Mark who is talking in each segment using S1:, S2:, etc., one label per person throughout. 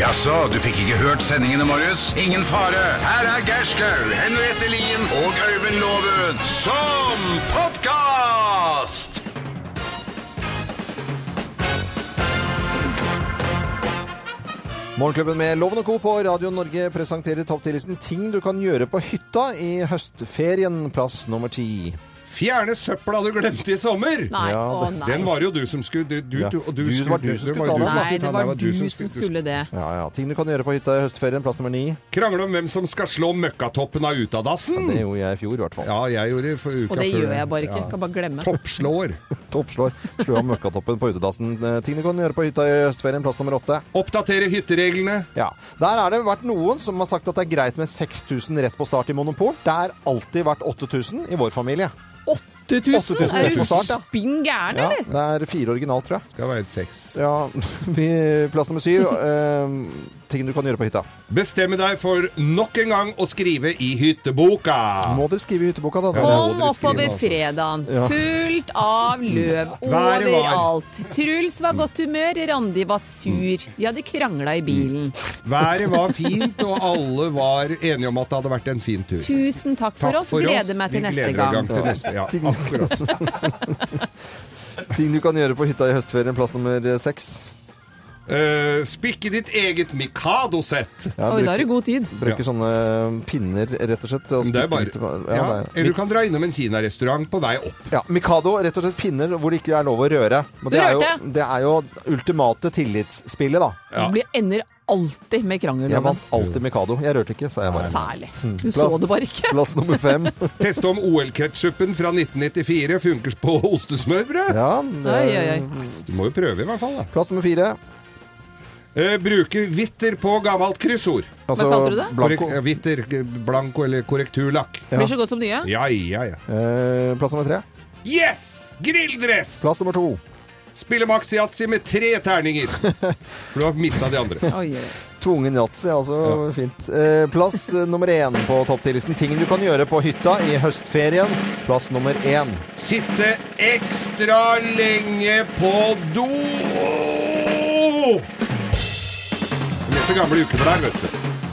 S1: Jaså, du fikk ikke hørt sendingene, Marius? Ingen fare. Her er Gerskaug, Henriette Lien og Øyvind Loven som podkast!
S2: Morgenklubben med Loven og Co. på Radio Norge presenterer topptillitsen ting du kan gjøre på hytta i høstferien, plass nummer ti.
S3: Fjerne søpla du glemte i sommer!
S4: Nei,
S2: Ja,
S4: å
S2: det-
S4: nei.
S3: Den var jo du som skulle du, du,
S2: Ja.
S3: du, og du,
S2: Du- det var du som skulle ta den.
S3: som
S4: Nei, det
S3: den,
S4: var du som skulle det.
S2: Ja, ja. Ting du kan gjøre på hytta i høstferien, plass nummer ni.
S3: Krangle om hvem som skal slå møkkatoppen av utadassen!
S2: Det gjorde jeg i fjor, i hvert fall.
S3: Ja, jeg gjorde det for uka
S4: Og
S3: før.
S4: det gjør jeg bare ikke. Kan bare glemme.
S3: Toppslår.
S2: Toppslår. Slå av møkkatoppen på utedassen. Eh, Ting du kan gjøre på hytta i høstferien, plass nummer åtte.
S3: Oppdatere hyttereglene.
S2: Ja. Der har det vært noen som har sagt at det er greit med 6000 rett på start i Monopol. Det har alltid vært 8000 i vår familie.
S4: 8000?
S2: 8000
S4: Er
S2: rett på
S4: du
S2: start, ja.
S4: spinn gæren,
S2: Ja,
S4: eller?
S2: det er fire originalt, tror jeg.
S3: Skal være et seks.
S2: Ja, vi, plass nummer syv. eh, ting du kan gjøre på hytta.
S3: Bestemme deg for nok en gang å skrive i hytteboka.
S2: Må dere skrive i hytteboka, da?
S3: Ja, det
S2: Dere.
S3: må
S4: Kom
S3: dere skrive,
S4: oppover
S3: altså.
S4: fredagen.
S2: Ja.
S4: Fullt av løv
S3: var.
S4: overalt. Truls var godt humør, Randi var sur. De hadde krangla i bilen.
S3: Været var fint, og alle var enige om at det hadde vært en fin tur.
S4: Tusen takk for oss. Gleder meg til
S3: Vi
S4: neste
S3: gleder oss
S4: gang.
S3: til neste, ja, akkurat.
S2: Ting du kan gjøre på hytta i høstferien, plass nummer seks.
S3: Eh, spikke ditt eget Mikado-sett.
S2: Ja,
S4: Oi, da
S2: bruker,
S4: har du god tid.
S2: bruker sånne pinner, rett og slett. og
S3: Det er bare
S2: spiker litt på-
S3: ja,
S2: ja, det er-
S3: Eller du kan dra innom en kinarestaurant på vei opp.
S2: ja, Mikado, rett og slett pinner hvor det ikke er lov å røre. Men det er jo,
S4: Rørte!
S2: det er jo ultimate tillitsspillet, da.
S3: Ja.
S4: Du blir- ender alltid med
S2: Jeg
S4: krangel.
S2: vant alltid Mikado. Jeg rørte ikke, sa jeg bare.
S4: Særlig. Du så det bare ikke.
S2: Plass nummer fem.
S3: Teste om OL-ketsjupen fra 1994 funker på ostesmørbrød.
S2: Ja, det
S4: Oi,
S2: er,
S4: oi, oi.
S3: Du må jo prøve, i hvert fall. da.
S2: plass nummer fire.
S3: Eh, bruke hvitter på gammelt kryssord.
S2: Altså,
S4: kalte du det?
S2: Blanco.
S3: Korrek- eh, Hvitter, eh, blanko eller korrekturlakk.
S4: Blir så godt som nye.
S3: Ja, ja, ja.
S2: Eh, plass nummer tre.
S3: Yes! Grilldress!
S2: Plass nummer to.
S3: Spille maks yatzy med tre terninger. For du har mista de andre.
S4: Oi, oi.
S2: Tvungen yatzy, altså. Fint. Eh, plass eh, nummer én på topptillitsen. Ting du kan gjøre på hytta i høstferien. Plass nummer én.
S3: Sitte ekstra lenge på do! Disse gamle ukeblader, vet du.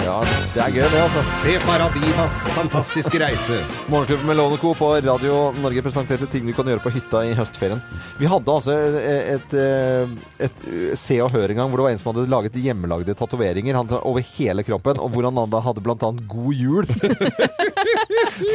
S2: Ja, det er gøy, det, altså.
S3: Se Paradivas fantastiske reise.
S2: Morgenklubben med Lovende Co. på Radio Norge presenterte ting du kan gjøre på hytta i høstferien. Vi hadde altså et, et, et eh, Se og Hør en gang hvor det var en som hadde laget hjemmelagde tatoveringer han- over hele kroppen, og hvor han da hadde blant annet God jul.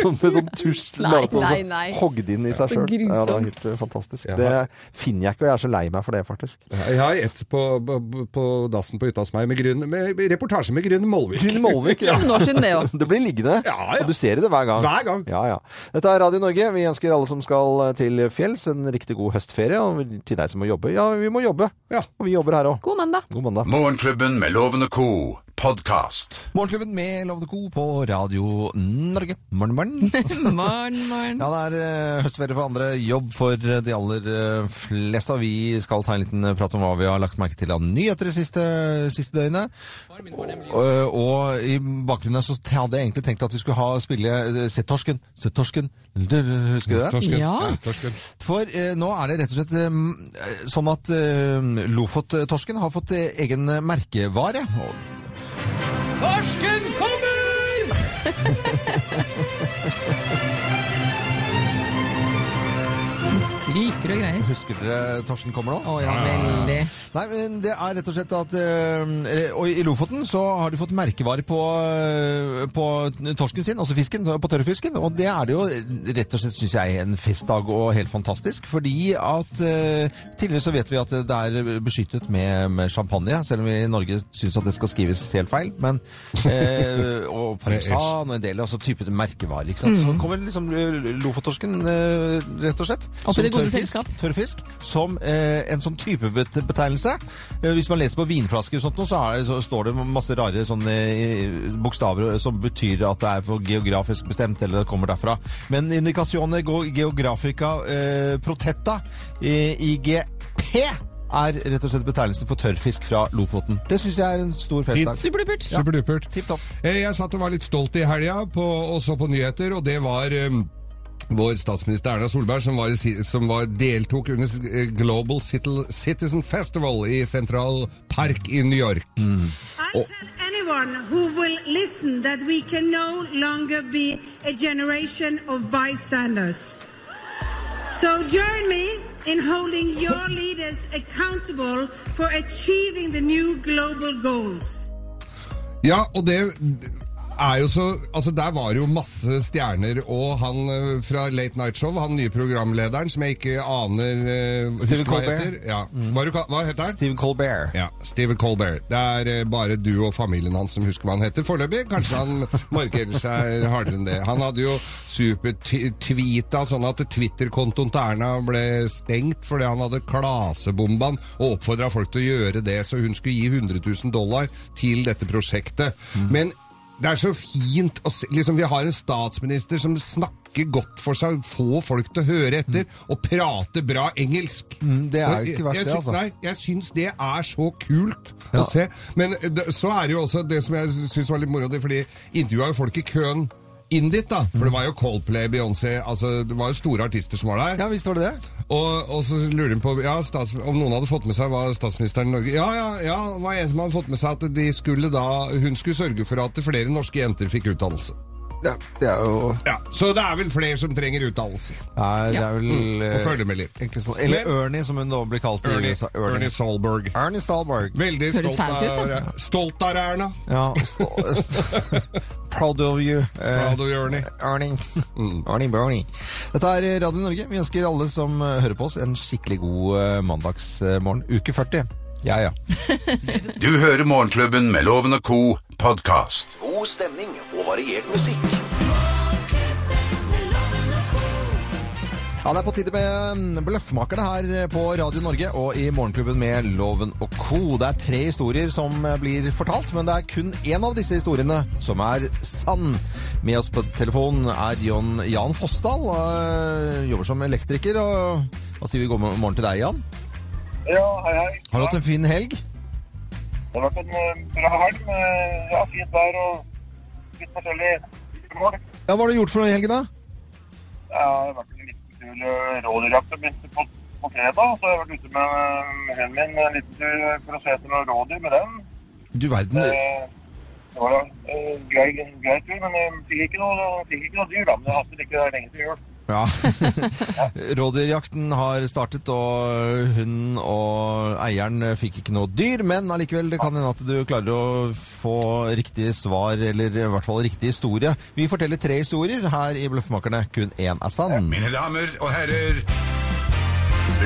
S2: Som med sånn tusj
S4: Nei,
S2: laget og så
S4: nei, nei.
S2: hogd inn i seg sjøl.
S4: Grusomt.
S2: Ja, det var helt eh, fantastisk.
S3: Ja.
S2: Det finner jeg ikke, og jeg er så lei meg for det, faktisk.
S3: Jeg har ett på, på, på dassen på hytta hos meg, med, grunn, med reportasje med Grüne Molvik.
S2: Trine Molvik, ja.
S4: Noen år siden det òg.
S2: Det blir liggende,
S3: Ja, ja.
S2: og du ser det hver gang.
S3: Hver gang.
S2: Ja, ja. Dette er Radio Norge. Vi ønsker alle som skal eh, til fjells, en riktig god høstferie. Og til deg som må jobbe. Ja, vi må jobbe.
S3: Ja.
S2: Og vi jobber her òg.
S4: God mandag.
S2: God mandag.
S1: Morgenklubben med Loven og co. podkast.
S2: Morgenklubben med Lovende Co. på Radio Norge. Morgen, morgen.
S4: Morgen, morgen.
S2: Ja, det er eh, høstferie for andre, jobb for eh, de aller eh, fleste. Og vi skal ta en liten eh, prat om hva vi har lagt merke til av nyheter det siste, siste døgnet. Og, og i bakgrunnen så t- hadde jeg egentlig tenkt at vi skulle ha spille eh, Sett torsken, sett torsken. Husker du det?
S3: Torsken.
S4: Ja.
S3: torsken.
S2: For eh, nå er det rett og slett eh, sånn at eh, Lofottorsken har fått eh, egen merkevare. Og-
S5: Torsken kommer!
S4: Stryker og greier.
S2: Husker dere torsken kommer nå?
S4: Å ja, veldig.
S2: Nei, men det er rett og slett at eh, Og i Lofoten så har de fått merkevare på, eh, på torsken sin, altså fisken, på tørrfisken. Og det er det jo rett og slett, syns jeg, en festdag og helt fantastisk. Fordi at eh, tidligere så vet vi at det er beskyttet med, med champagne, selv om vi i Norge syns at det skal skrives helt feil. Men eh, Og parmesan og en del altså type merkevarer, ikke
S4: Mm.
S2: sant. Så kommer liksom Lofottorsken, eh, rett og slett.
S4: Opp i
S2: som
S4: det gode
S2: tørrfisk.
S4: selskap.
S2: Tørrfisk som eh, en sånn typebetegnelse. Eh, hvis man leser på vinflasker og sånt, noe, så, er, det- så står det masse rare sånne eh, bokstaver som betyr at det er for geografisk bestemt, eller det kommer derfra. Men indikasjoner geografica eh, protetta eh, IGP er rett og slett betegnelsen for tørrfisk fra Lofoten. Det syns jeg er en stor festdag.
S4: Superlupert.
S3: Superdupert.
S2: Tipp topp.
S3: Eh, Jeg satt og var litt stolt i helga på- og så på nyheter, og det var eh, vår statsminister Erna Solberg som, var, i si- som var, deltok under s- eh, Global Cit- Citizen Festival i Central Park i New York.
S6: I tell anyone who will listen that we can no longer be a generation of bystanders. So join me in holding your leaders accountable for achieving the new global goals.
S3: Ja, og det er jo så Altså, der var det jo masse stjerner, og han eh, fra Late Night Show, han nye programlederen som jeg ikke aner eh,
S2: Stephen
S3: husker hva
S2: Colbert. Mm.
S3: heter. Ja. Hva, er det ka- hva heter han?
S2: Stephen Colbert.
S3: Ja, Steven Colbert. Det er eh, bare du og familien hans som husker hva han heter foreløpig. Kanskje han markerer seg hardere enn det. Han hadde jo supertweeta sånn at Twitter-kontoen til Erna ble stengt fordi han hadde klasebomba han og oppfordra folk til å gjøre det, så hun skulle gi 100 000 dollar til dette prosjektet.
S2: Mm.
S3: Men det er så fint å se liksom, Vi har en statsminister som snakker godt for seg, få folk til å høre etter, og prate bra engelsk.
S2: Mm, det er jo ikke
S3: Jeg-
S2: verst,
S3: jeg
S2: det,
S3: syns-
S2: altså.
S3: Nei, jeg syns det er så kult
S2: Ja.
S3: å se. Men det, så er det jo også det som jeg syns var litt moro, det er fordi intervjua jo folk i køen inn dit, da. For det var jo Coldplay, Beyoncé, altså det var jo store artister som var der.
S2: Ja, visst var det det?
S3: Og, og så lurer de på ja, stats, om noen hadde fått med seg hva statsministeren i Norge Ja, ja, ja, det var en som hadde fått med seg at de skulle da, hun skulle sørge for at flere norske jenter fikk utdannelse.
S2: Ja, det er jo
S3: Ja, Så det er vel flere som trenger utdannelse.
S2: Nei, det er vel
S3: Mm. Og
S2: eh,
S3: følge med litt.
S2: egentlig sånn Eller
S3: Men-
S2: Ernie, som hun nå blir kalt. i
S3: Ernie,
S2: USA.
S3: Ernie
S2: Ernie.
S3: Solberg.
S2: Ernie Stalberg.
S3: Veldig
S4: Høres
S3: stolt
S4: fancy ut,
S3: av,
S4: da.
S3: stolt av deg, Erna.
S2: Ja, st st Proud of you. eh,
S3: Proud of Mm. you, Ernie.
S2: Erning. Erning Bernie. Dette er Radio Norge. Vi ønsker alle som eh, hører på oss, en skikkelig god eh, mandagsmorgen. Uke 40. Ja, ja.
S1: Du hører Morgenklubben med Loven og Co. podkast.
S7: God stemning og variert musikk.
S2: Ja, Det er på tide med Bløffmakerne her på Radio Norge og i Morgenklubben med Loven og co. Det er tre historier som blir fortalt, men det er kun én av disse historiene som er sann. Med oss på telefonen er Jon Jan Fossdal. øh, Jobber som elektriker. og Da sier vi god morgen til deg, Jan.
S8: Ja, hei, hei.
S2: Har du hatt en fin helg?
S8: Det har vært en eh, bra helg med ja, fint vær og litt forskjellig mål.
S2: Ja, Hva har du gjort for noe i helgen, da?
S8: Jeg har vært en liten tur eh, rådyrjakt og begynte på, på fredag. Så har jeg vært ute med eh, hunden min en liten tur for å se etter noen rådyr med den.
S2: Du verden.
S8: Eh, Det var en eh, grei, grei tur, men jeg fikk ikke noe, fikk ikke noe dyr da. Men jeg hadde ikke lenge til jul.
S2: Ja. Rådyrjakten har startet, og hunden og eieren fikk ikke noe dyr, men allikevel det kan hende at du klarer å få riktige svar, eller i hvert fall riktig historie. Vi forteller tre historier her i Bløffmakerne. Kun én er sann.
S1: Mine damer og herrer,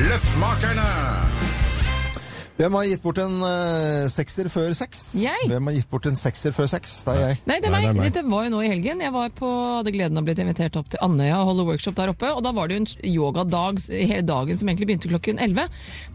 S1: Løffmakerne!
S2: Hvem har gitt bort en eh, sekser før seks?
S4: Jeg.
S2: Hvem har gitt bort en sekser før seks? Det er jeg.
S4: Nei, det er
S3: Nei,
S4: meg.
S3: det er meg.
S4: Dette var jo nå i helgen. Jeg var på, hadde gleden av å blitt invitert opp til Andøya og holde workshop der oppe. Og da var det jo en yogadag s- hele dagen som egentlig begynte klokken 11.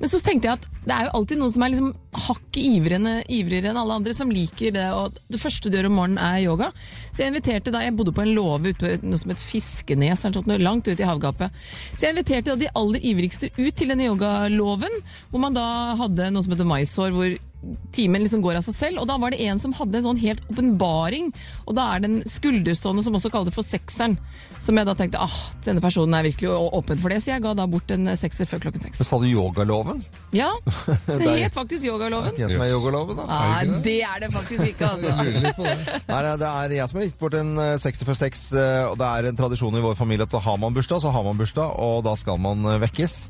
S4: Men så tenkte jeg at det er jo alltid noen som er liksom hakket ivrigere, ivrigere enn alle andre, som liker det. Og det første du gjør om morgenen er yoga. Så jeg inviterte da, jeg bodde på en låve ute på noe som het Fiskenes, eller noe sånt, noe langt ute i havgapet. Så jeg inviterte da de aller ivrigste ut til denne yogalåven, hvor man da hadde noe som heter maisår, hvor timen liksom går av seg selv, og da var det en som hadde en sånn helt åpenbaring, og da er det en skulderstående som også kaller det for sekseren, som jeg da tenkte, ah, denne personen er virkelig å- åpen for det, så jeg ga da bort en sekser før klokken seks.
S2: Sa du yogaloven?
S4: Ja, det
S2: Der.
S4: het faktisk yogaloven.
S2: Ikke jeg som er yogaloven, da.
S4: Nei, det er det faktisk ikke, altså.
S2: Nei, nei, det er jeg som har gitt bort en eh, 60 for 6, eh, og det er en tradisjon i vår familie at har man bursdag, så har man bursdag, og da skal man eh, vekkes.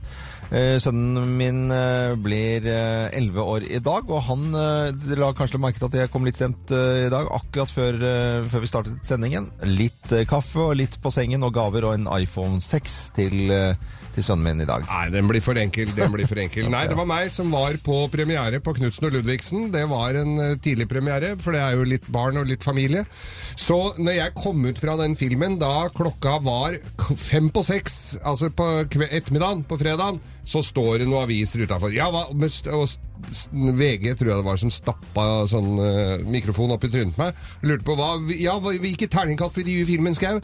S2: Eh, Sønnen min eh, blir eh, 11 år i dag, og han eh, dere la kanskje merke til at jeg kom litt sent eh, i dag, akkurat før, eh, før vi startet sendingen. Litt eh, kaffe og litt på sengen, og gaver og en iPhone 6 til, eh, til sønnen min i dag.
S3: Nei, den blir for enkel. Den blir for enkel. Nei, det var meg som var på premiere på Knutsen og Ludvigsen. Det var en eh, tidlig premiere, for det er jo litt barn og litt familie. Så når jeg kom ut fra den filmen, da klokka var k- fem på seks, altså på kve- ettermiddagen på fredagen, så står det noen aviser utafor. Ja, hva, med st- og st- s- VG tror jeg det var som stappa sånn eh, mikrofon opp i trynet på meg. Lurte på hva, ja, hva- hvilket terningkast vil du gi filmen, Skau?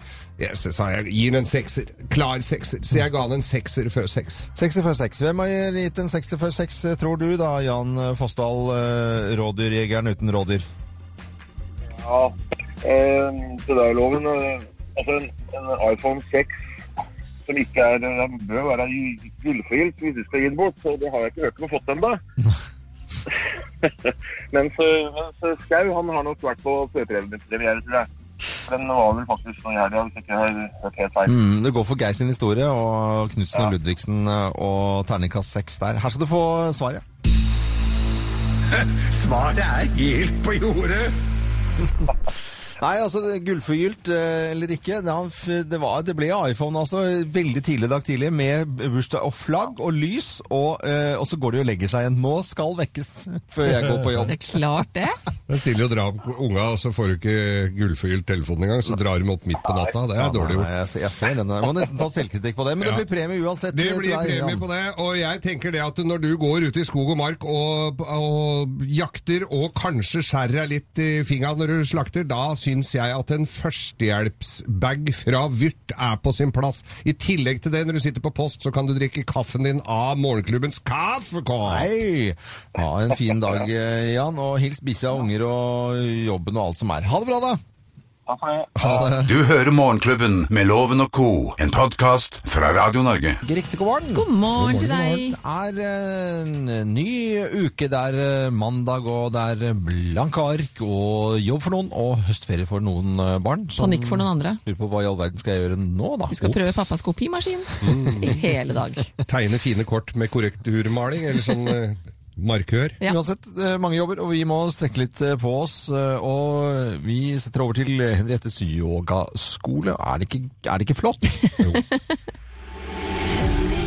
S3: Yes, sa jeg. Gi den en sekser. Klar sekser. Så jeg ga den en sekser før seks.
S2: 60 for 6. Hvem har gitt en 60 for 6, tror du da, Jan Fossdal, eh, rådyrjegeren uten rådyr?
S8: Ja, eh, det der loven. eh, Altså en, en iPhone 6 som ikke er eh, Den bør være gullfrilt hvis du skal gi den bort, så det har jeg ikke hørt om å fått ennå. Mens, øh, mens Skau han har nok vært på Pøperevnepremiere, tror jeg. Den var vel faktisk noe i helga, hvis jeg ikke har hørt helt feil.
S2: Mm, det går for Geir sin historie og Knutsen og Ludvigsen eh, og terningkast seks der. Her skal du få svaret.
S1: Svaret er helt på jordet.
S2: Nei, altså det er gullforgylt eh, eller ikke. Det, han f- det, var, det ble iPhone altså veldig tidlig i dag tidlig med bursdag og flagg og lys, og, eh, og så går de og legger seg igjen. Nå skal vekkes før jeg går på jobb.
S4: Det er klart det.
S3: Det er stille å dra opp unga, og så får du ikke gullforgylt telefonen engang. Så drar de opp midt på natta. Det er dårlig
S2: Nei,
S3: gjort.
S2: jeg, ser- jeg ser den. Jeg må nesten ta selvkritikk på det, men
S3: Ja.
S2: det blir premie uansett. eh,
S3: Det
S2: til
S3: blir
S2: deg,
S3: premie
S2: Jan.
S3: på det, og jeg tenker det at når du går ut i skog og mark og, og jakter, og kanskje skjærer deg litt i fingra når du slakter, da syns jeg at en førstehjelpsbag fra Vyrt er på sin plass. I tillegg til det, når du sitter på post, så kan du drikke kaffen din av morgenklubbens kaffekopp!
S2: Hei! Ha en fin dag, eh, Jan, og hils bikkja, unger og jobben og alt som er. Ha det bra, da!
S8: Takk for det.
S1: Du hører Morgenklubben med Loven og co., en podkast fra Radio Norge.
S2: Ikke Riktig god morgen.
S4: God morgen til
S2: Det
S4: deg.
S2: er eh, en ny uke. Det er eh, mandag, og det er blanke ark og jobb for noen, og høstferie for noen eh, barn. som
S4: Panikk for noen andre.
S2: Lurer på hva i all verden skal jeg gjøre nå, da?
S4: Du skal prøve pappas kopimaskin i hele dag.
S3: Tegne fine kort med korrekturmaling, eller sånn eh, markør.
S4: Ja.
S2: Uansett, eh, mange jobber, og vi må strekke litt eh, på oss. eh, Og vi setter over til Henriettes yogaskole. Er det ikke, er det ikke flott?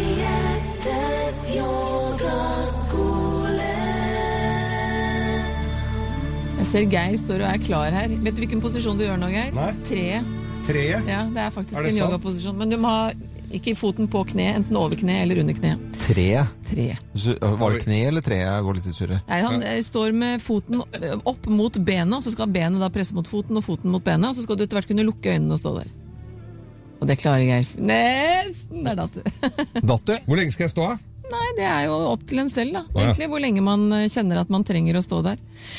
S9: Henriettes yogaskole.
S4: Jeg ser Geir står og er klar her. Vet du hvilken posisjon du gjør nå, Geir?
S3: Nei.
S4: Treet.
S3: Treet.
S4: Ja, det er faktisk
S3: Er det
S4: en
S3: sant?
S4: yogaposisjon. Men du må ha ikke foten på kneet, enten over kneet eller under kneet.
S2: Tre.
S4: Treet.
S2: Så, eh, Var det kne eller tre? Jeg går litt i surre.
S4: Nei, han eh, står med foten eh, opp mot benet, og så skal benet da presse mot foten og foten mot benet, og så skal du etter hvert kunne lukke øynene og stå der. Og det klarer Geir. Nesten! Der datt det.
S2: Datt du?
S3: Hvor lenge skal jeg stå? av?
S4: Nei, det er jo opp til en selv, da.
S3: Å, ja.
S4: Egentlig hvor lenge man eh, kjenner at man trenger å stå der.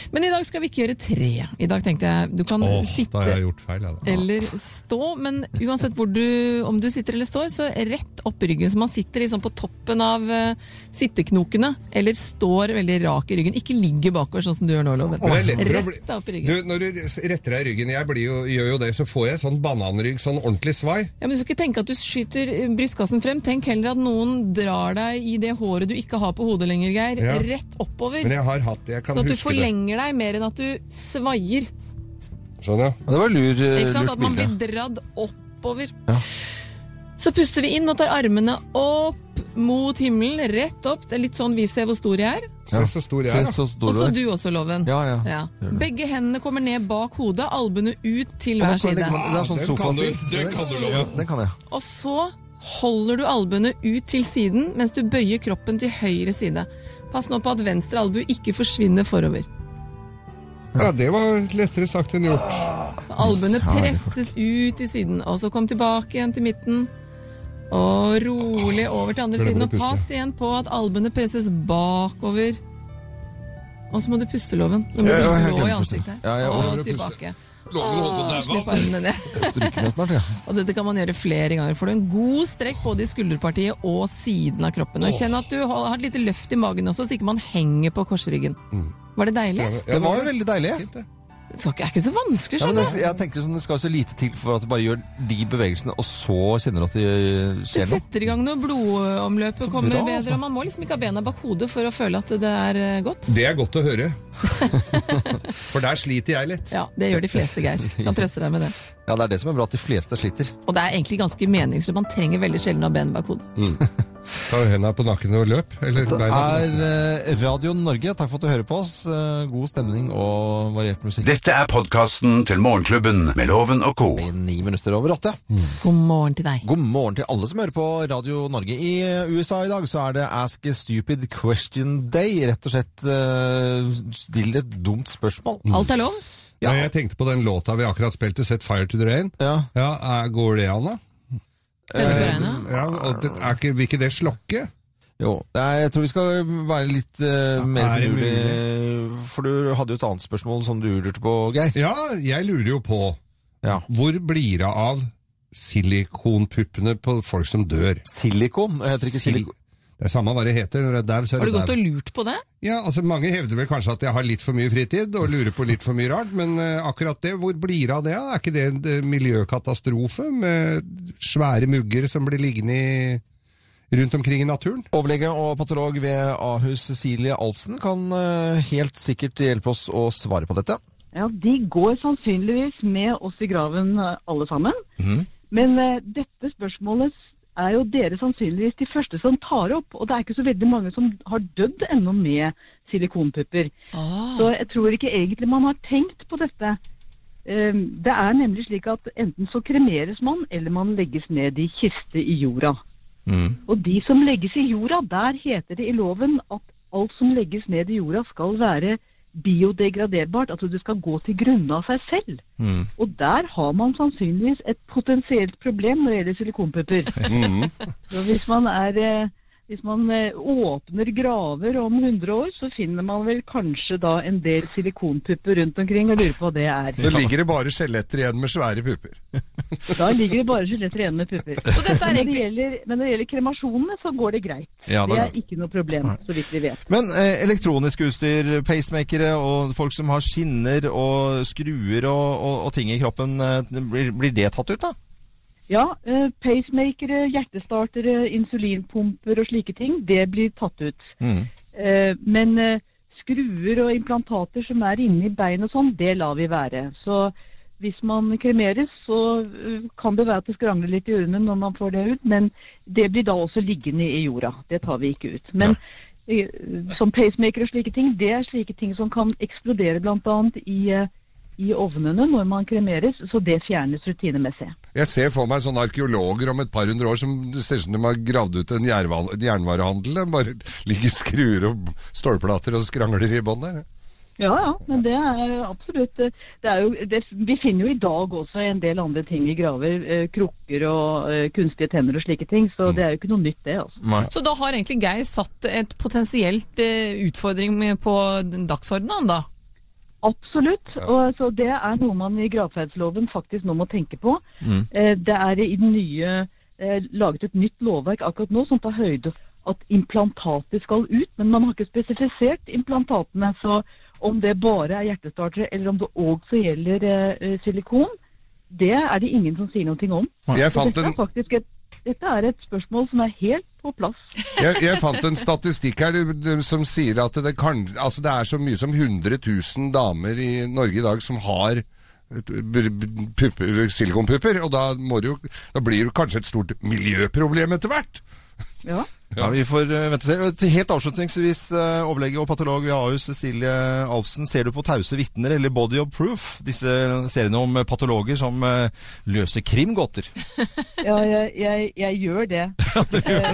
S4: Men i dag skal vi ikke gjøre tre. I dag tenkte jeg du kan
S3: Åh, da
S4: sitte
S3: har jeg gjort feil. jeg, da.
S4: eller stå, men uansett hvor du, om du sitter eller står, så rett opp ryggen. Så man sitter liksom på toppen av eh, sitteknokene, eller står veldig rak i ryggen. Ikke ligger bakover, sånn som du gjør nå, Loven.
S3: Men det er lett for å bli-
S4: Rett opp i ryggen.
S3: Du, når du retter deg i ryggen, jeg blir jo, gjør jo det, så får jeg sånn bananrygg, sånn ordentlig svai.
S4: Ja, men du skal ikke tenke at du skyter eh, brystkassen frem. Tenk heller at noen drar deg i det håret du ikke har på hodet lenger, Geir.
S3: Ja.
S4: Rett oppover.
S3: Men jeg har hatt det, jeg kan
S4: Sånn at du
S3: huske det.
S4: forlenger deg mer enn at du svaier.
S3: Sånn, ja.
S2: Det var lur, eh,
S4: Ikke sant?
S2: lurt
S4: At man
S2: bilde.
S4: blir dradd oppover. Så puster vi inn og tar armene opp mot himmelen, rett opp. Det er litt sånn vi ser hvor stor jeg er.
S3: Se så stor jeg
S2: Se
S3: er, da.
S2: så stor
S4: Og
S2: du
S4: så
S2: er.
S4: du også, Loven.
S2: Ja, ja. Gjør det.
S4: Begge hendene kommer ned bak hodet, albuene ut til
S2: Her
S4: hver
S2: kan
S4: side.
S2: jeg legge meg- Det er sånn
S3: Den kan
S2: sofastil.
S3: du- den kan du love.
S2: Ja, Den kan jeg.
S4: Og så holder du albuene ut til siden mens du bøyer kroppen til høyre side. Pass nå på at venstre albu ikke forsvinner forover.
S3: Ja, det var lettere sagt enn gjort.
S4: Så albuene
S2: Kjære folk.
S4: presses ut til siden, og så kom tilbake igjen til midten. Og rolig over til andre
S3: Nå må
S4: siden.
S3: du
S4: Og
S3: puste.
S4: pass igjen på at albuene presses bakover. Og så må du puste, Loven. Nå må
S2: Ja, ja, jeg
S4: du blå
S2: glemte
S4: i
S2: å puste.
S4: ansiktet.
S2: Ja, ja, jeg
S4: og
S3: glemte å puste.
S4: tilbake.
S3: Loven holdt
S4: Åh,
S3: på å
S4: Slipp
S3: daue av.
S4: armene ned.
S2: Stryker meg snart, ja.
S4: Og dette kan man gjøre flere ganger. Får du en god strekk både i skulderpartiet og siden av kroppen. Og kjenn at du har har et lite løft i magen også, så ikke man henger på korsryggen.
S2: Mm.
S4: Var det deilig?
S3: Ja,
S2: Det var jo veldig deilig.
S3: fint, det.
S4: Det skal ikke- er ikke så vanskelig,
S2: Ja, men
S4: skjønner
S2: det, jeg tenkte sånn, det skal så lite til for at du bare gjør de bevegelsene, og så kjenner du at det
S4: Det
S2: skjer noe.
S4: setter i gang når blodomløpet
S2: Så
S4: kommer
S2: bra,
S4: bedre.
S2: altså.
S4: og Man må liksom ikke ha bena bak hodet for å føle at det er eh, godt.
S3: Det er godt å høre. For der sliter jeg litt.
S4: Ja, Det gjør de fleste, Geir. Kan trøste deg med det.
S2: Ja, det er det som er bra, at de fleste sliter.
S4: Og det er egentlig ganske meningsløst. Man trenger veldig sjelden å ha ben bak hodet.
S3: Ta henda på nakken og løp. Eller
S2: Det
S3: beina. på nakken.
S2: er eh, Radio Norge. Takk for at du hører på oss. Eh, God stemning og variert musikk.
S1: Dette er podkasten til Morgenklubben med Loven og co.
S2: I ni minutter over åtte.
S4: God morgen til deg.
S2: God morgen til alle som hører på Radio Norge. I eh, USA i dag så er det Ask a Stupid Question Day. Rett og slett eh, still et dumt spørsmål.
S4: Alt er lov.
S2: Ja.
S3: Ja, Jeg tenkte på den låta vi akkurat spilte, 'Set Fire to the Rain'.
S2: Ja.
S3: Ja, er- Går det an, da?
S4: Kjenner
S2: Eh,
S4: på regnet.
S3: Ja, og det, er ikke, vil ikke det slokke?
S2: Jo, nei, jeg tror vi skal være litt eh, mer
S3: er det
S2: finurlige. For du hadde jo et annet spørsmål som du lurte på, Geir.
S3: Ja, jeg lurer jo på
S2: Ja.
S3: Hvor blir det av silikonpuppene på folk som dør?
S2: Silikon? Heter det ikke
S3: Sil-
S2: silikon?
S3: Det er samme hva det heter. Når det er dau, så er
S4: Har du
S3: det
S4: gått
S3: dau.
S4: og lurt på det?
S3: Ja, altså Mange hevder vel kanskje at jeg har litt for mye fritid og lurer på litt for mye rart, men eh, akkurat det, hvor blir det av det? da? Er ikke det en eh, miljøkatastrofe med svære mugger som blir liggende i, rundt omkring i naturen?
S2: Overlege og patolog ved Ahus Cecilie Alfsen kan eh, helt sikkert hjelpe oss å svare på dette.
S10: Ja, de går sannsynligvis med oss i graven eh, alle sammen. Men eh, dette spørsmålet er jo dere sannsynligvis de første som tar opp, og det er ikke så veldig mange som har dødd ennå med silikonpupper. Så jeg tror ikke egentlig man har tenkt på dette. Eh, Det er nemlig slik at enten så kremeres man, eller man legges ned i kiste i jorda. Og de som legges i jorda, der heter det i loven at alt som legges ned i jorda skal være biodegraderbart, altså det skal gå til grunne av seg selv. Og der har man sannsynligvis et potensielt problem når det gjelder silikonpupper. Så hvis man er... eh, Hvis man eh, åpner graver om 100 år, så finner man vel kanskje da en del silikonpupper rundt omkring og lurer på hva det er.
S3: Da ligger det bare skjeletter igjen med svære pupper.
S10: Da ligger det bare skjeletter igjen med pupper.
S4: Og dette er
S10: Men når det
S4: egentlig
S10: gjelder, men når det gjelder kremasjonene, så går det greit.
S2: Ja,
S10: det
S2: da-
S10: er ikke noe problem, så vidt vi vet.
S2: Men eh, elektronisk utstyr, pacemakere og folk som har skinner og skruer og, og, og ting i kroppen, eh, blir, blir det tatt ut da?
S10: Ja, eh, pacemakere, hjertestartere, insulinpumper og slike ting, det blir tatt ut. Eh, Men eh, skruer og implantater som er inni bein og sånn, det lar vi være. Så hvis man kremeres, så eh, kan det være at det skrangler litt i ørene når man får det ut, men det blir da også liggende i jorda. Det tar vi ikke ut. Men eh, som pacemaker og slike ting, det er slike ting som kan eksplodere bl.a. I, eh, i ovnene når man kremeres, så det fjernes rutinemessig.
S3: Jeg ser for meg sånne arkeologer om et par hundre år som det ser ut som de har gravd ut en jernval- jernvarehandel. Det Bare ligger skruer og stålplater og skrangler i bånn der.
S10: Ja, ja, men det er absolutt eh, det er jo, det, Vi finner jo i dag også en del andre ting i graver. eh, Krukker og eh, kunstige tenner og slike ting. Så det er jo ikke noe nytt, det. altså.
S4: Så da har egentlig Geir satt et potensielt eh, utfordring på dagsordenen, da?
S10: Absolutt. og så Det er noe man i gravferdsloven faktisk nå må tenke på.
S3: Mm.
S10: Eh, Det er i den nye eh, laget et nytt lovverk akkurat nå som tar høyde for at implantater skal ut, men man har ikke spesifisert implantatene. Så om det bare er hjertestartere, eller om det også gjelder eh, eh, silikon, det er det ingen som sier noe om.
S3: Jeg
S10: Så
S3: fant
S10: dette
S3: en,
S10: er faktisk et, dette er et spørsmål som er helt på plass.
S3: jeg, jeg fant en statistikk her eh, som sier at det, kan, altså det er så mye som 100 000 damer i Norge i dag som har eh, b- b- pupper- silikonpupper, og da, må det jo, da blir det jo kanskje et stort miljøproblem etter hvert.
S10: Ja.
S2: Ja, vi får eh, vente og se. Til Helt avslutningsvis, eh, overlege og patolog ved Ahus Cecilie Alfsen, ser du på Tause vitner eller Body of Proof, disse seriene om eh, patologer som eh, løser krimgåter?
S10: Ja, jeg, jeg, jeg gjør det. Eh,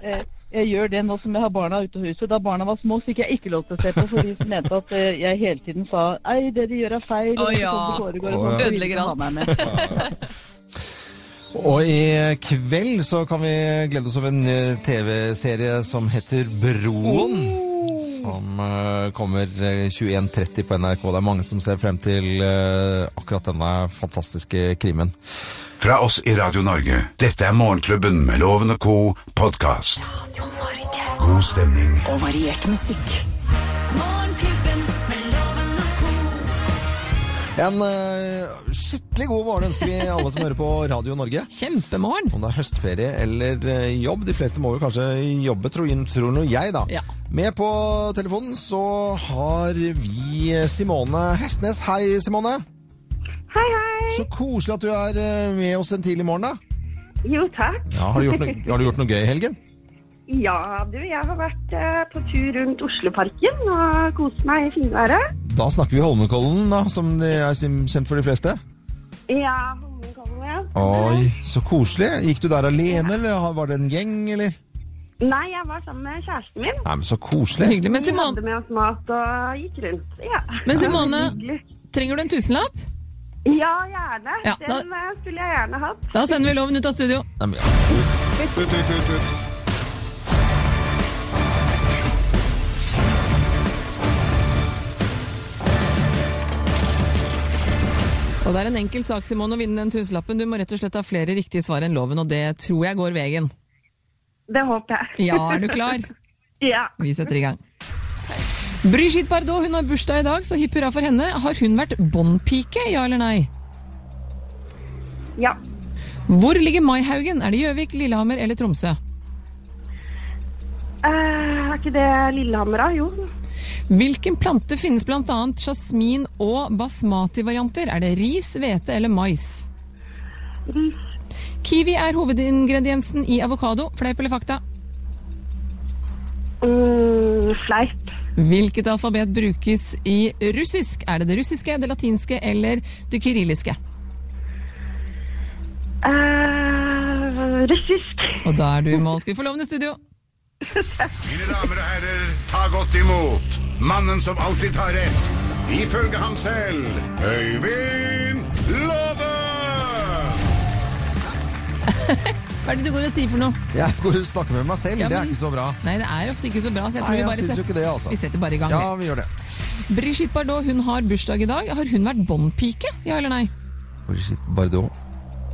S10: eh, Jeg gjør det nå som jeg har barna ute av huset. Da barna var små, fikk jeg ikke lov til å se på, for de mente at eh, jeg hele tiden sa Ei, det de gjør er feil.
S4: Å,
S10: og sånn
S4: ja.
S10: det foregår, og
S4: Å,
S10: sånn,
S4: ja.
S10: så ville de ikke ha meg med.»
S2: Og i kveld så kan vi glede oss over en eh, TV-serie som heter Broen. Som eh, kommer eh, 21.30 på NRK. Det er mange som ser frem til eh, akkurat denne fantastiske krimmen.
S1: Fra oss i Radio Norge, dette er Morgenklubben med Loven og Co. podkast.
S9: Radio Norge.
S1: God stemning
S11: Og variert musikk.
S9: Morgenklubben med loven og ko.
S2: En eh, skikkelig god morgen ønsker vi alle som hører på Radio Norge.
S4: Kjempemorgen!
S2: Om det er høstferie eller eh, jobb. De fleste må jo kanskje jobbe, tror, tror nå jeg, da.
S4: Ja.
S2: Med på telefonen så har vi Simone Hestnes. Hei, Simone.
S10: Hei, hei.
S2: Så koselig at du er eh, med oss en tidlig morgen, da.
S10: Jo, takk.
S2: Ja, har, du gjort noe, har du gjort noe gøy i helgen?
S10: Ja, du, jeg har vært eh, på tur rundt Osloparken og kost meg i finværet.
S2: Da snakker vi Holmenkollen, da, som det er sim- kjent for de fleste.
S10: Ja, Holmenkollen, ja.
S2: Oi, så koselig. Gikk du der alene, eller har- var det en gjeng, eller?
S10: Nei, jeg var sammen med kjæresten min.
S2: Nei, men så koselig.
S4: Hyggelig. Men
S10: Vi hadde
S4: Simone,
S10: med oss mat og gikk rundt. Ja,
S4: men Simone
S10: hyggelig.
S4: trenger du en tusenlapp?
S10: Ja, gjerne.
S4: Ja, da-
S10: Den eh, skulle jeg gjerne hatt.
S4: Da sender vi loven ut av studio.
S2: Nei, men, ja.
S3: Tut, tut, tut, tut.
S4: Og det er en enkel sak, Simone, å vinne den tusenlappen. Du må rett og slett ha flere riktige svar enn loven, og det tror jeg går veien.
S11: Det håper jeg.
S4: Ja, er du klar?
S11: ja.
S4: Vi setter i gang. Brigitte Bardot hun har bursdag i dag, så hipp hurra for henne. Har hun vært båndpike, ja eller nei?
S11: Ja.
S4: Hvor ligger Maihaugen? Er det Gjøvik, Lillehammer eller Tromsø?
S11: Eh, er ikke det Lillehammer, da? Jo.
S4: Hvilken plante finnes bl.a. jasmin- og basmati-varianter? Er det ris, hvete eller mais?
S11: Ris.
S4: Kiwi er hovedingrediensen i avokado. Fleip eller fakta?
S11: Mm, fleip.
S4: Hvilket alfabet brukes i russisk? Er det det russiske, det latinske eller det kyrilliske?
S11: Eh, russisk.
S4: Og da er du i mål. Skal vi få lovende studio?
S1: Mine damer og herrer, ta godt imot mannen som alltid tar rett, ifølge ham selv, Øyvind Låve!
S4: Hva er det du går og sier for noe?
S2: Jeg går og snakker med meg selv,
S4: Ja,
S2: det
S4: men-
S2: er ikke så bra.
S4: Nei, det er ofte ikke så bra. Så jeg tror
S2: Nei,
S4: vi
S2: jeg
S4: bare
S2: syns jo
S4: setter-
S2: ikke det, altså.
S4: Vi setter bare i gang.
S2: Ja,
S4: vi.
S2: vi gjør det.
S4: Brigitte Bardot hun har bursdag i dag. Har hun vært båndpike? Ja eller nei?
S2: Brigitte Bardot.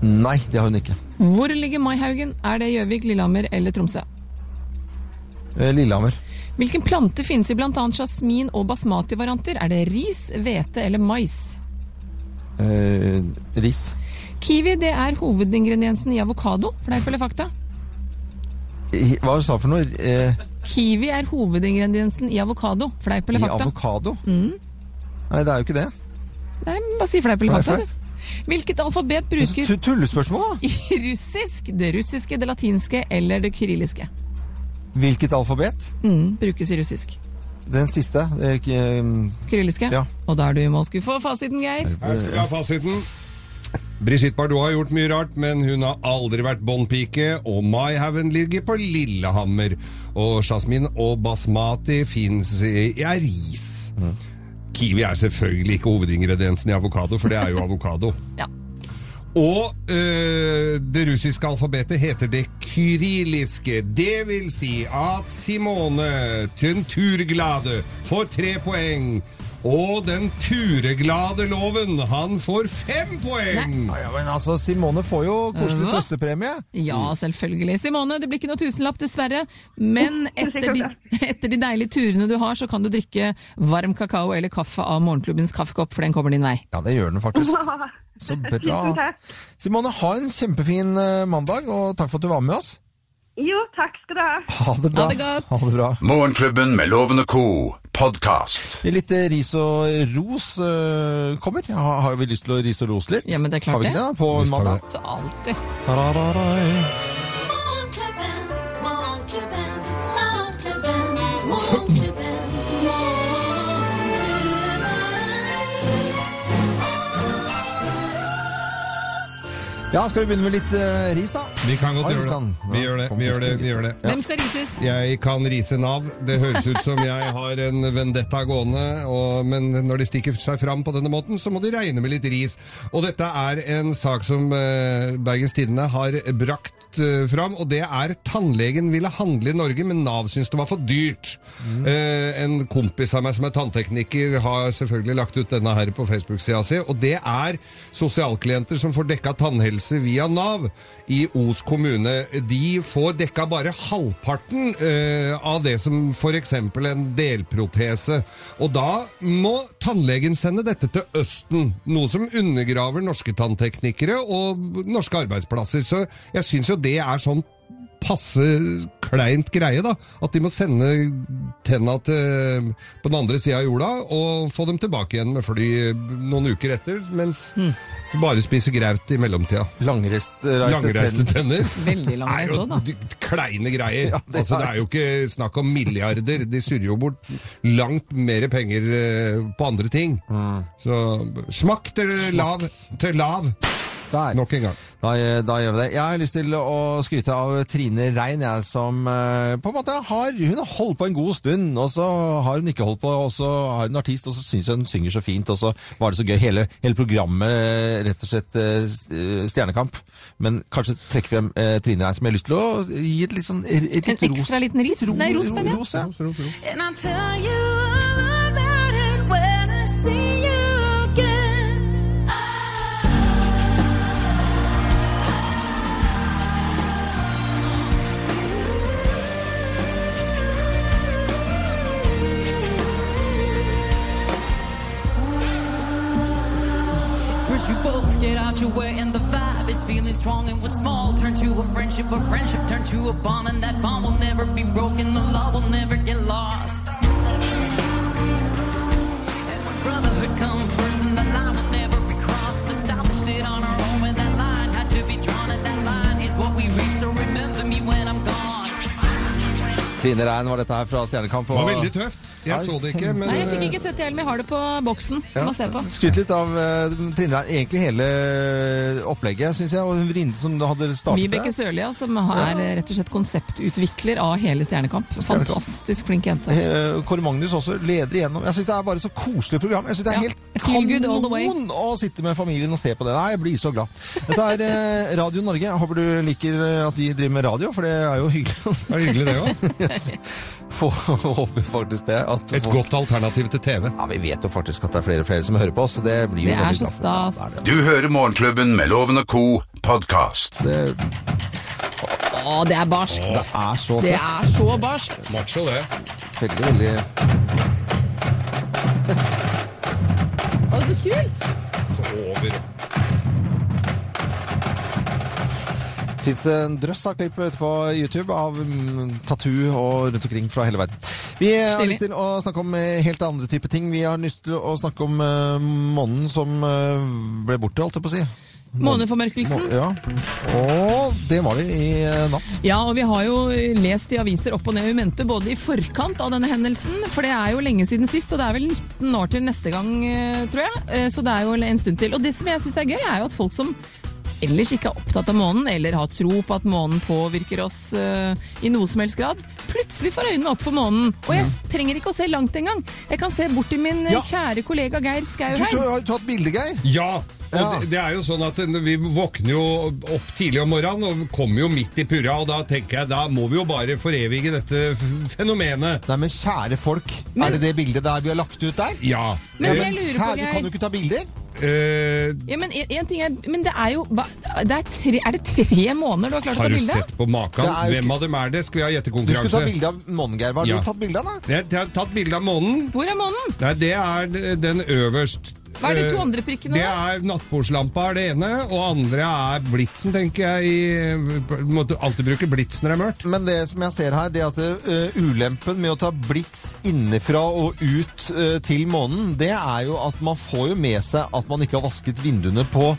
S2: Nei, det har hun ikke.
S4: Hvor ligger Maihaugen? Er det Gjøvik, Lillehammer eller Tromsø?
S2: Eh, Lillehammer.
S4: Hvilken plante finnes i bl.a. jasmin- og basmati-varianter? Er det ris, hvete eller mais?
S2: Eh, ris.
S4: Kiwi det er hovedingrediensen i avokado. Fleip eller fakta?
S2: I, hva sa du for noe? Eh,
S4: Kiwi er hovedingrediensen i avokado. Fleip
S2: I
S4: eller fakta?
S2: avokado?
S4: Mm.
S2: Nei, det er jo ikke det.
S4: Nei, men bare si fleip eller
S2: Fleip, Altså,
S4: fakta, du. Hvilket alfabet brukes
S2: Tu- Tullespørsmål, da.
S4: i russisk, det russiske, det latinske eller det kyrilliske?
S2: Hvilket alfabet?
S4: Mm, brukes i russisk.
S2: Den siste. eh, k- eh,
S4: Kyrilliske?
S2: Ja.
S4: Og da er du i mål. Skal vi få fasiten, Geir?
S3: Her skal vi ha fasiten. Brigitte Bardot har gjort mye rart, men hun har aldri vært båndpike, og Maihaugen ligger på Lillehammer. Og jasmin og basmati fins i er ris. Kiwi er selvfølgelig ikke hovedingrediensen i avokado, for det er jo avokado.
S4: Ja.
S3: Og øh, det russiske alfabetet heter det kyrilliske. Det vil si at Simone den turglade får tre poeng. Og den tureglade loven, han får fem poeng!
S2: Ja, men altså, Simone får jo koselig
S4: Hva?
S2: trøstepremie. Mm.
S4: Ja, selvfølgelig. Simone, det blir ikke noe tusenlapp, dessverre. Men etter de, etter de deilige turene du har, så kan du drikke varm kakao eller kaffe av morgenklubbens kaffekopp, for den kommer din vei.
S2: Ja, det gjør den faktisk. Så
S11: Tusen
S2: bra.
S11: takk.
S2: Simone, ha en kjempefin eh, mandag, og takk for at du var med oss.
S11: Jo, takk skal du ha.
S2: Ha det bra.
S4: Ha det godt.
S2: Ha det bra.
S1: Morgenklubben med Lovende Co, podkast.
S2: Litt eh, ris og ros eh, kommer. Ha, har vi lyst til å ris og rose litt?
S4: Ja, men det er klart
S2: har vi ikke det?
S4: det.
S2: da, På
S3: Visst har vi
S2: mandag?
S4: Så alltid.
S2: Tarararai.
S9: Morgenklubben, morgenklubben, morgenklubben, morgenklubben, morgenklubben.
S2: Ja, skal vi begynne med litt eh, ris, da?
S3: Vi kan godt
S2: Oi,
S3: gjøre det.
S2: sann. Ja,
S3: Vi gjør det,
S2: kom,
S3: vi gjør
S2: husker
S3: det. vi
S2: litt.
S3: gjør det.
S4: Hvem skal rises?
S3: Jeg kan rise Nav. Det høres ut som jeg har en vendetta gående, og, men når de stikker seg fram på denne måten, så må de regne med litt ris. Og dette er en sak som eh, Bergens Tidende har brakt eh, fram, og det er tannlegen ville handle i Norge, men Nav syntes det var for dyrt.
S2: Mm.
S3: Eh, en kompis av meg som er tanntekniker har selvfølgelig lagt ut denne her på Facebook-sida si, og det er sosialklienter som får dekka tannhelse via Nav i Os kommune. De får dekka bare halvparten eh, av det som f.eks. en delprotese. Og da må tannlegen sende dette til Østen, noe som undergraver norske tannteknikere og norske arbeidsplasser. Så jeg syns jo det er sånn passe kleint greie, da. At de må sende tenna til, på den andre sida av jorda og få dem tilbake igjen med fly noen uker etter, mens
S4: Mm.
S3: du bare spiser graut i mellomtida. Langreiste
S2: Langreist
S3: tenner.
S4: Veldig lang
S3: Nei,
S4: reis
S3: og
S4: òg, da.
S3: d- Kleine greier.
S2: Ja, det
S3: det, altså, det er jo ikke snakk om milliarder. De surrer jo bort langt mer penger eh, på andre ting. Så smakk til lav. Til lav.
S2: Der.
S3: Nok en gang.
S2: Da, eh, da gjør vi det. Jeg har lyst til å skryte av Trine Rein, jeg, som eh, på en måte har Hun har holdt på en god stund, og så har hun ikke holdt på, og så har hun artist, og så syns hun synger så fint, og så var det så gøy. Hele, hele programmet, eh, rett og slett eh, s- eh, Stjernekamp. Men kanskje trekke frem eh, Trine Rein, som jeg har lyst til å gi et litt sånn et, et,
S4: En ekstra liten ris? Nei, ros, mener jeg.
S2: ros, ja.
S9: And I'll tell you all about it when I see you again.
S12: Get out your way and the vibe is feeling strong and what's small turn to a friendship, a friendship turn to a bond and that bond will never be broken, the love will never get lost. And when brotherhood comes first and the line will never be crossed, established it on our own when that line had to be drawn and that line is what we reach, so remember me when I'm gone.
S2: Trine Rein var dette her fra Stjernekamp.
S3: Det var veldig tøft. Jeg så det ikke, men
S4: Nei, jeg fikk ikke sett det, men jeg har det på boksen.
S2: Ja,
S4: Må se på.
S2: Skryt litt av eh, Trine Rein. Egentlig hele eh, opplegget, syns jeg. Og hun vrinden som hadde startet
S4: Vibeke
S2: det.
S4: Sørlia, som er eh, rett og slett konseptutvikler av hele Stjernekamp. Fantastisk flink jente.
S2: Eh, Kåre Magnus også leder igjennom. Jeg syns det er bare et så koselig program. Jeg synes det er
S4: Feel good all
S2: helt
S4: the way.
S2: kanon å sitte med familien og se på det. Nei, jeg blir så glad. Dette er eh, Radio Norge. Jeg Håper du liker eh, at vi driver med radio, for det er jo hyggelig.
S3: eh, Det er hyggelig, det òg.
S2: Håper faktisk det. At
S3: Et godt alternativ til TV.
S2: Ja, Vi vet jo faktisk at det er flere og flere som hører på oss, så det blir jo
S4: Det er
S2: veldig
S4: så
S2: glad for.
S4: stas.
S1: Du hører Morgenklubben med Loven og Co. podkast.
S4: Å, det er barskt!
S2: er så
S4: Det er så barskt!
S3: Macho, det.
S2: Veldig, veldig
S4: Å, så kult!
S3: Så over.
S2: Fins det en drøss av klipp ute på YouTube av mm, tattoo og rundt omkring fra hele verden. Vi har
S4: Stilig.
S2: lyst til å snakke om eh, helt andre typer ting. Vi har lyst til å snakke om eh, månen som eh, ble borte, holdt jeg på å si.
S4: Måneformørkelsen.
S2: Må- Ja. Og det var det i eh, natt.
S4: Ja, og vi har jo lest i aviser opp og ned i mente, både i forkant av denne hendelsen, for det er jo lenge siden sist, og det er vel 19 år til neste gang, eh, tror jeg. Eh, Så det er jo en stund til. Og det som jeg syns er gøy, er jo at folk som ellers ikke er opptatt av månen, eller har tro på at månen påvirker oss eh, i noe som helst grad, plutselig får øynene opp for månen. Og jeg s- trenger ikke å se langt engang. Jeg kan se bort til min eh,
S2: Ja.
S4: kjære kollega Geir Skau
S2: Du,
S4: her.
S2: du har jo tatt bilde, Geir.
S3: Ja. Og
S2: Ja.
S3: Det, det er jo sånn at eh, Vi våkner jo opp tidlig om morgenen og kommer jo midt i purra. og Da tenker jeg, da må vi jo bare forevige dette f- fenomenet.
S2: Nei, men kjære folk,
S4: Men-
S2: er det det bildet der vi har lagt ut der?
S3: Ja.
S4: Men
S2: Ja,
S4: jeg lurer på,
S2: kjære,
S4: Geir-
S2: kan du ikke ta bilder?
S3: Eh,
S4: Ja, men, en, en ting er, men det er jo hva- det er, tre, er det tre måneder du har klart å ta
S3: har du
S4: bilde?
S3: sett på
S2: Det
S3: maken?
S2: er jo
S3: Hvem av dem er det? Skal vi ha
S2: Du skulle ta
S3: gjettekonkurranse?
S2: bilde av månen, Geir. Hva har
S3: Ja.
S2: du tatt bilde av, da?
S3: Jeg jeg har tatt bilde av månen.
S4: Hvor er månen?
S3: Nei, det er den øverst.
S4: Hva er de to
S3: Eh,
S4: andre prikkene
S3: Det
S4: da?
S3: er nattbordslampa er det ene, og andre er blitsen, tenker jeg. I, må du alltid bruke blits når det er mørkt.
S2: Men det som jeg ser her, det er at eh, ulempen med å ta blits innenfra og ut eh, til månen, det er jo at man får jo med seg at man ikke har vasket vinduene på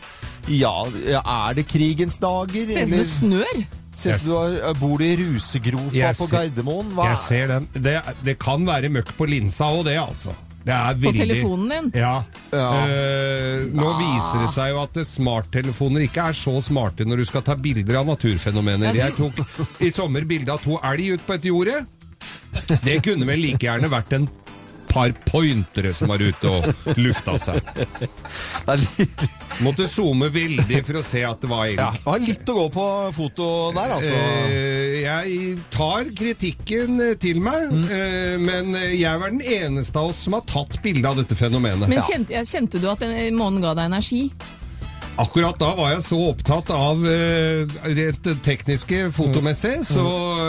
S2: ja, er det krigens dager?
S4: Ser ut som det snør.
S2: Ser ut som du har, eh, bor du i rusegropa
S3: Jeg
S2: på
S3: ser-
S2: Gardermoen? Hva
S3: Jeg ser den. Det, det kan være møkk på linsa òg, det, altså. Det er
S4: På
S3: veldig...
S4: telefonen din.
S3: Ja.
S2: Ja.
S3: Eh, nå viser det seg jo at det- smarttelefoner ikke er så smarte når du skal ta bilder av naturfenomener.
S4: Ja,
S3: Jeg tok i sommer bilde av to elg ut på et jorde. Det kunne vel like gjerne vært en par pointere som var ute og lufta seg.
S2: Det er litt,
S3: Måtte zoome veldig for å se at det var elg.
S2: ja. Du har litt å gå på foto der, altså.
S3: Eh, jeg tar kritikken eh, til meg, eh, men jeg var den eneste av oss som har tatt bilde av dette fenomenet.
S4: Men kjente, ja, kjente du at den- månen ga deg energi?
S3: Akkurat da var jeg så opptatt av eh, rent tekniske fotomessig, så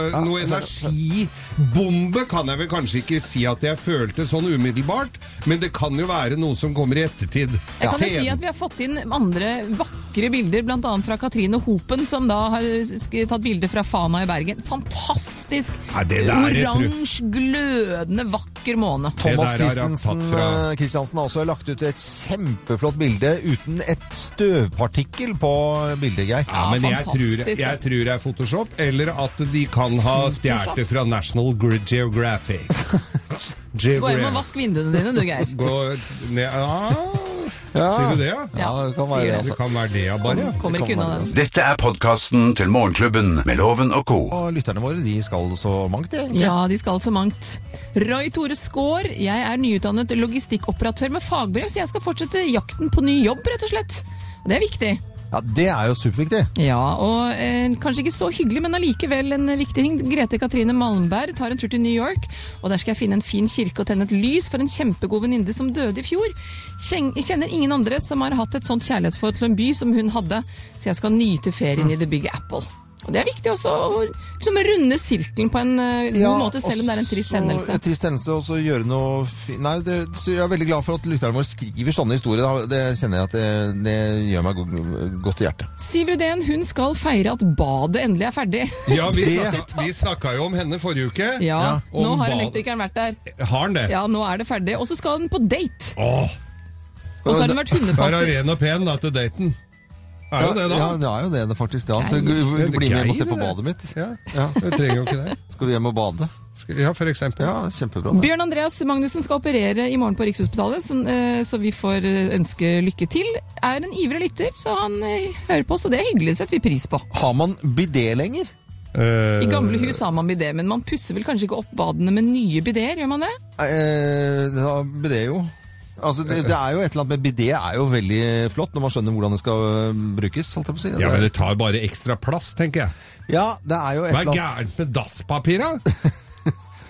S3: eh, noe energibombe kan jeg vel kanskje ikke si at jeg følte sånn umiddelbart, men det kan jo være noe som kommer i ettertid.
S4: Jeg kan jo
S3: Sen-
S4: si at Vi har fått inn andre vakre bilder, bl.a. fra Katrine Hopen, som da har sk- tatt bilde fra Fana i Bergen. Fantastisk!
S3: Nei, det der er et tru-
S4: Oransje, glødende, vakker måne.
S2: Thomas
S3: Det der har jeg
S2: Christensen,
S3: tatt fra-
S2: eh, Christiansen har også lagt ut et kjempeflott bilde uten et støvpartikkel på bildet, Geir.
S3: Ja, men jeg tror,
S4: fantastisk,
S3: jeg
S4: altså.
S3: tror det er Photoshop, eller at de kan ha stjålet det fra National Grid Geographic.
S4: Gå hjem og vask vinduene dine, du, Geir.
S3: Gå ned Ja,
S2: Ja.
S3: sier du det, ja?
S2: Ja, det kan
S4: sier
S2: være det,
S4: det.
S2: altså.
S3: Det kan være det, ja, bare.
S4: Kommer ikke unna den.
S1: Dette er podkasten til Morgenklubben med Loven og co.
S2: Og lytterne våre, de skal så mangt, de, egentlig.
S4: Ja, de skal så mangt. Roy Tore Skaar, jeg er nyutdannet logistikkoperatør med fagbrev, så jeg skal fortsette jakten på ny jobb, rett og slett. Og Det er viktig.
S2: Ja, det er jo superviktig.
S4: Ja, og eh, kanskje ikke så hyggelig, men allikevel en viktig ting. Grete Katrine Malmberg tar en tur til New York, og der skal jeg finne en fin kirke og tenne et lys for en kjempegod venninne som døde i fjor. Kjen- Jeg kjenner ingen andre som har hatt et sånt kjærlighetsforhold til en by som hun hadde, så jeg skal nyte ferien i The Big Apple. Og det er viktig også å liksom, runde sirkelen på en eh, god måte, selv om det er en trist hendelse.
S2: En trist hendelse, og så gjøre noe fi- Nei, det, så jeg er veldig glad for at lytterne våre skriver sånne historier. Da. Det kjenner jeg at det, det gjør meg go godt i hjertet.
S4: Siv Rudén hun skal feire at badet endelig er ferdig.
S3: Ja, vi
S4: Det-
S3: snakka, vi snakka jo om henne forrige uke.
S4: Ja,
S3: Om
S4: Nå har
S3: hva-
S4: elektrikeren vært der.
S3: Har han det?
S4: Ja, nå er det ferdig. Og så skal den på date.
S3: Åh.
S4: Og så har den vært hundepasser.
S3: Der er ren og pen da, til daten. Er jo
S2: Ja,
S3: det, da.
S2: Ja, det er jo det, det faktisk. Da. Så
S3: Geir.
S2: gu-
S3: Det er
S2: bli med hjem og
S3: Geir,
S2: se på
S3: det.
S2: badet mitt.
S3: Ja, jeg trenger jo ikke det.
S2: Skal vi hjem og bade?
S3: Ja, for eksempel.
S2: Ja, kjempebra. det.
S4: Bjørn Andreas Magnussen skal operere i morgen på Rikshospitalet, så, eh, så vi får eh, ønske lykke til. Er en ivrig lytter, så han eh, hører på, så det er hyggelig, setter vi pris på.
S2: Har man bidé lenger?
S3: Eh,
S4: I gamle
S2: Eh.
S4: hus har man bidé, men man pusser vel kanskje ikke opp badene med nye bidéer, gjør man det?
S2: Eh, da- bidé jo. Altså, det, det er jo et eller annet med bidé er jo veldig flott når man skjønner hvordan det skal øh, brukes. Holdt jeg på å si.
S3: Ja, men det tar bare ekstra plass, tenker jeg.
S2: ja, det er jo et
S3: Hva er
S2: eller annet
S3: gærent med dasspapir, da?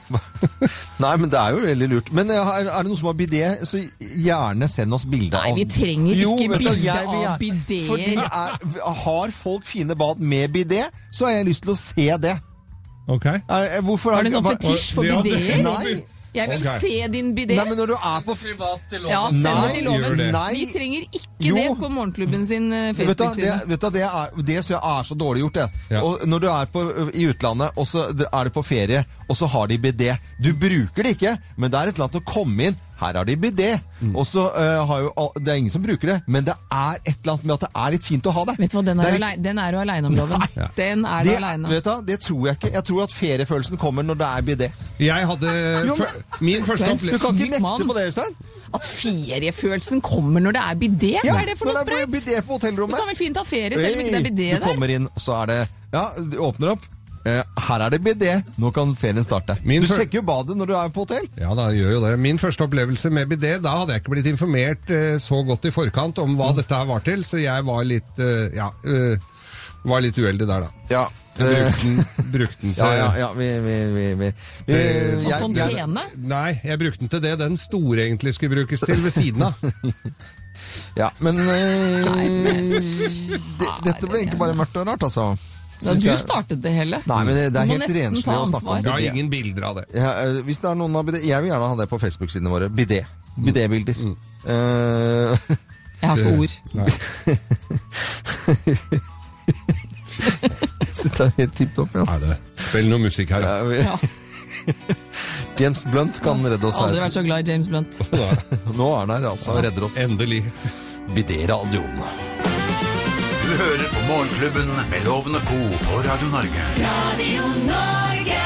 S2: Nei, men det er jo veldig lurt. Men eh, er, er det noen som har bidé, så gjerne send oss bilde av
S4: Nei, vi trenger ikke
S2: Jo, vet du,
S4: bilde
S2: jeg vil
S4: av
S2: gjerne-
S4: bidéer.
S2: Fordi er, Har folk fine bad med bidé, så har jeg lyst til å se det.
S3: Ok.
S2: Er, eh, hvorfor er
S4: Har du en sånn
S2: hva-
S4: fetisj for
S2: Ja, det-
S4: bidéer?
S2: Nei.
S4: Jeg vil
S2: Ok.
S4: se din bidé.
S2: Nei, men når du er på privat til
S4: Ja, send det
S2: Nei,
S4: til
S2: gjør
S4: loven.
S2: det. Nei.
S4: Vi trenger ikke
S2: Jo. Mm.
S4: det på Morgenklubben sin eh,
S2: Vet du, hva, det,
S4: Facebook-side.
S2: vet du, hva, det, er, det synes jeg er så dårlig gjort, det. Og når du er på, i utlandet, og så er du på ferie, og så har de bidé. Du bruker det ikke, men det er et eller annet å komme inn. Her har de bidé. Og så eh, har jo al- Det er ingen som bruker det, men det er et eller annet med at det er litt fint å ha det. Vet du hva,
S4: Den er, alei- den er du aleine om, Loven.
S2: Nei.
S4: Den er du
S2: det,
S4: aleine om.
S2: vet du, hva, det tror jeg ikke. Jeg tror at feriefølelsen kommer når det er bidé.
S3: Jeg hadde
S2: Jo, men-
S3: fø- Min første
S2: Du kan ikke
S3: opplevelse
S2: nekte på det, Øystein.
S4: At feriefølelsen kommer når det er bidé?
S2: Ja,
S4: Hva er det for
S2: når det
S4: noe
S2: er
S4: sprøyt?
S2: bidé på
S4: Du
S2: hotellrommet.
S4: kan vel fint ha ferie selv om ikke det er bidé
S2: Hey, Du
S4: der?
S2: kommer inn, og så er det Ja, du åpner opp. Eh, her er det bidé. Nå kan ferien starte. du
S3: fø-
S2: sjekker jo badet når du er på hotell.
S3: Ja, da gjør jo det. Min første opplevelse med bidé, da hadde jeg ikke blitt informert eh, så godt i forkant om hva dette her var til, så jeg var litt, eh, ja, eh, var litt uheldig der, da.
S2: Ja.
S3: Jeg brukte den, brukte den til
S2: Eh. Ja, ja, ja, vi, vi, vi, vi. vi
S3: Eh,
S2: jeg-
S4: sånn
S2: jeg-
S3: Nei, jeg brukte den til det den store egentlig skulle brukes til, ved siden av.
S2: Ja, men eh, det, Dette ble egentlig bare mørkt og rart, altså.
S4: Ja,
S2: Syns
S4: du
S2: jeg.
S4: startet det hele.
S2: Nei, men det, det er
S4: Du må
S2: helt
S4: nesten
S2: renslig
S4: ta
S2: å snakke
S4: ansvar.
S2: om bidé.
S3: Ja, ingen bilder av det.
S2: Ja, eh, hvis det er noen av bidé Jeg vil gjerne ha det på Facebook-sidene våre. Bidé. Bidébilder. Eh,
S4: Jeg har ikke ord.
S2: Jeg syns det er helt tipp topp. Ja.
S3: Nei, det. Spill noe musikk her.
S2: Ja, vi- James Blunt kan redde oss
S4: Aldri
S2: her.
S4: vært så glad i James Blunt.
S2: Nå er han her, altså. og Redder oss.
S3: Endelig.
S2: Bidé-radioen.
S1: Du hører på Morgenklubben med Loven og Co. på Radio Norge.
S9: Radio Norge.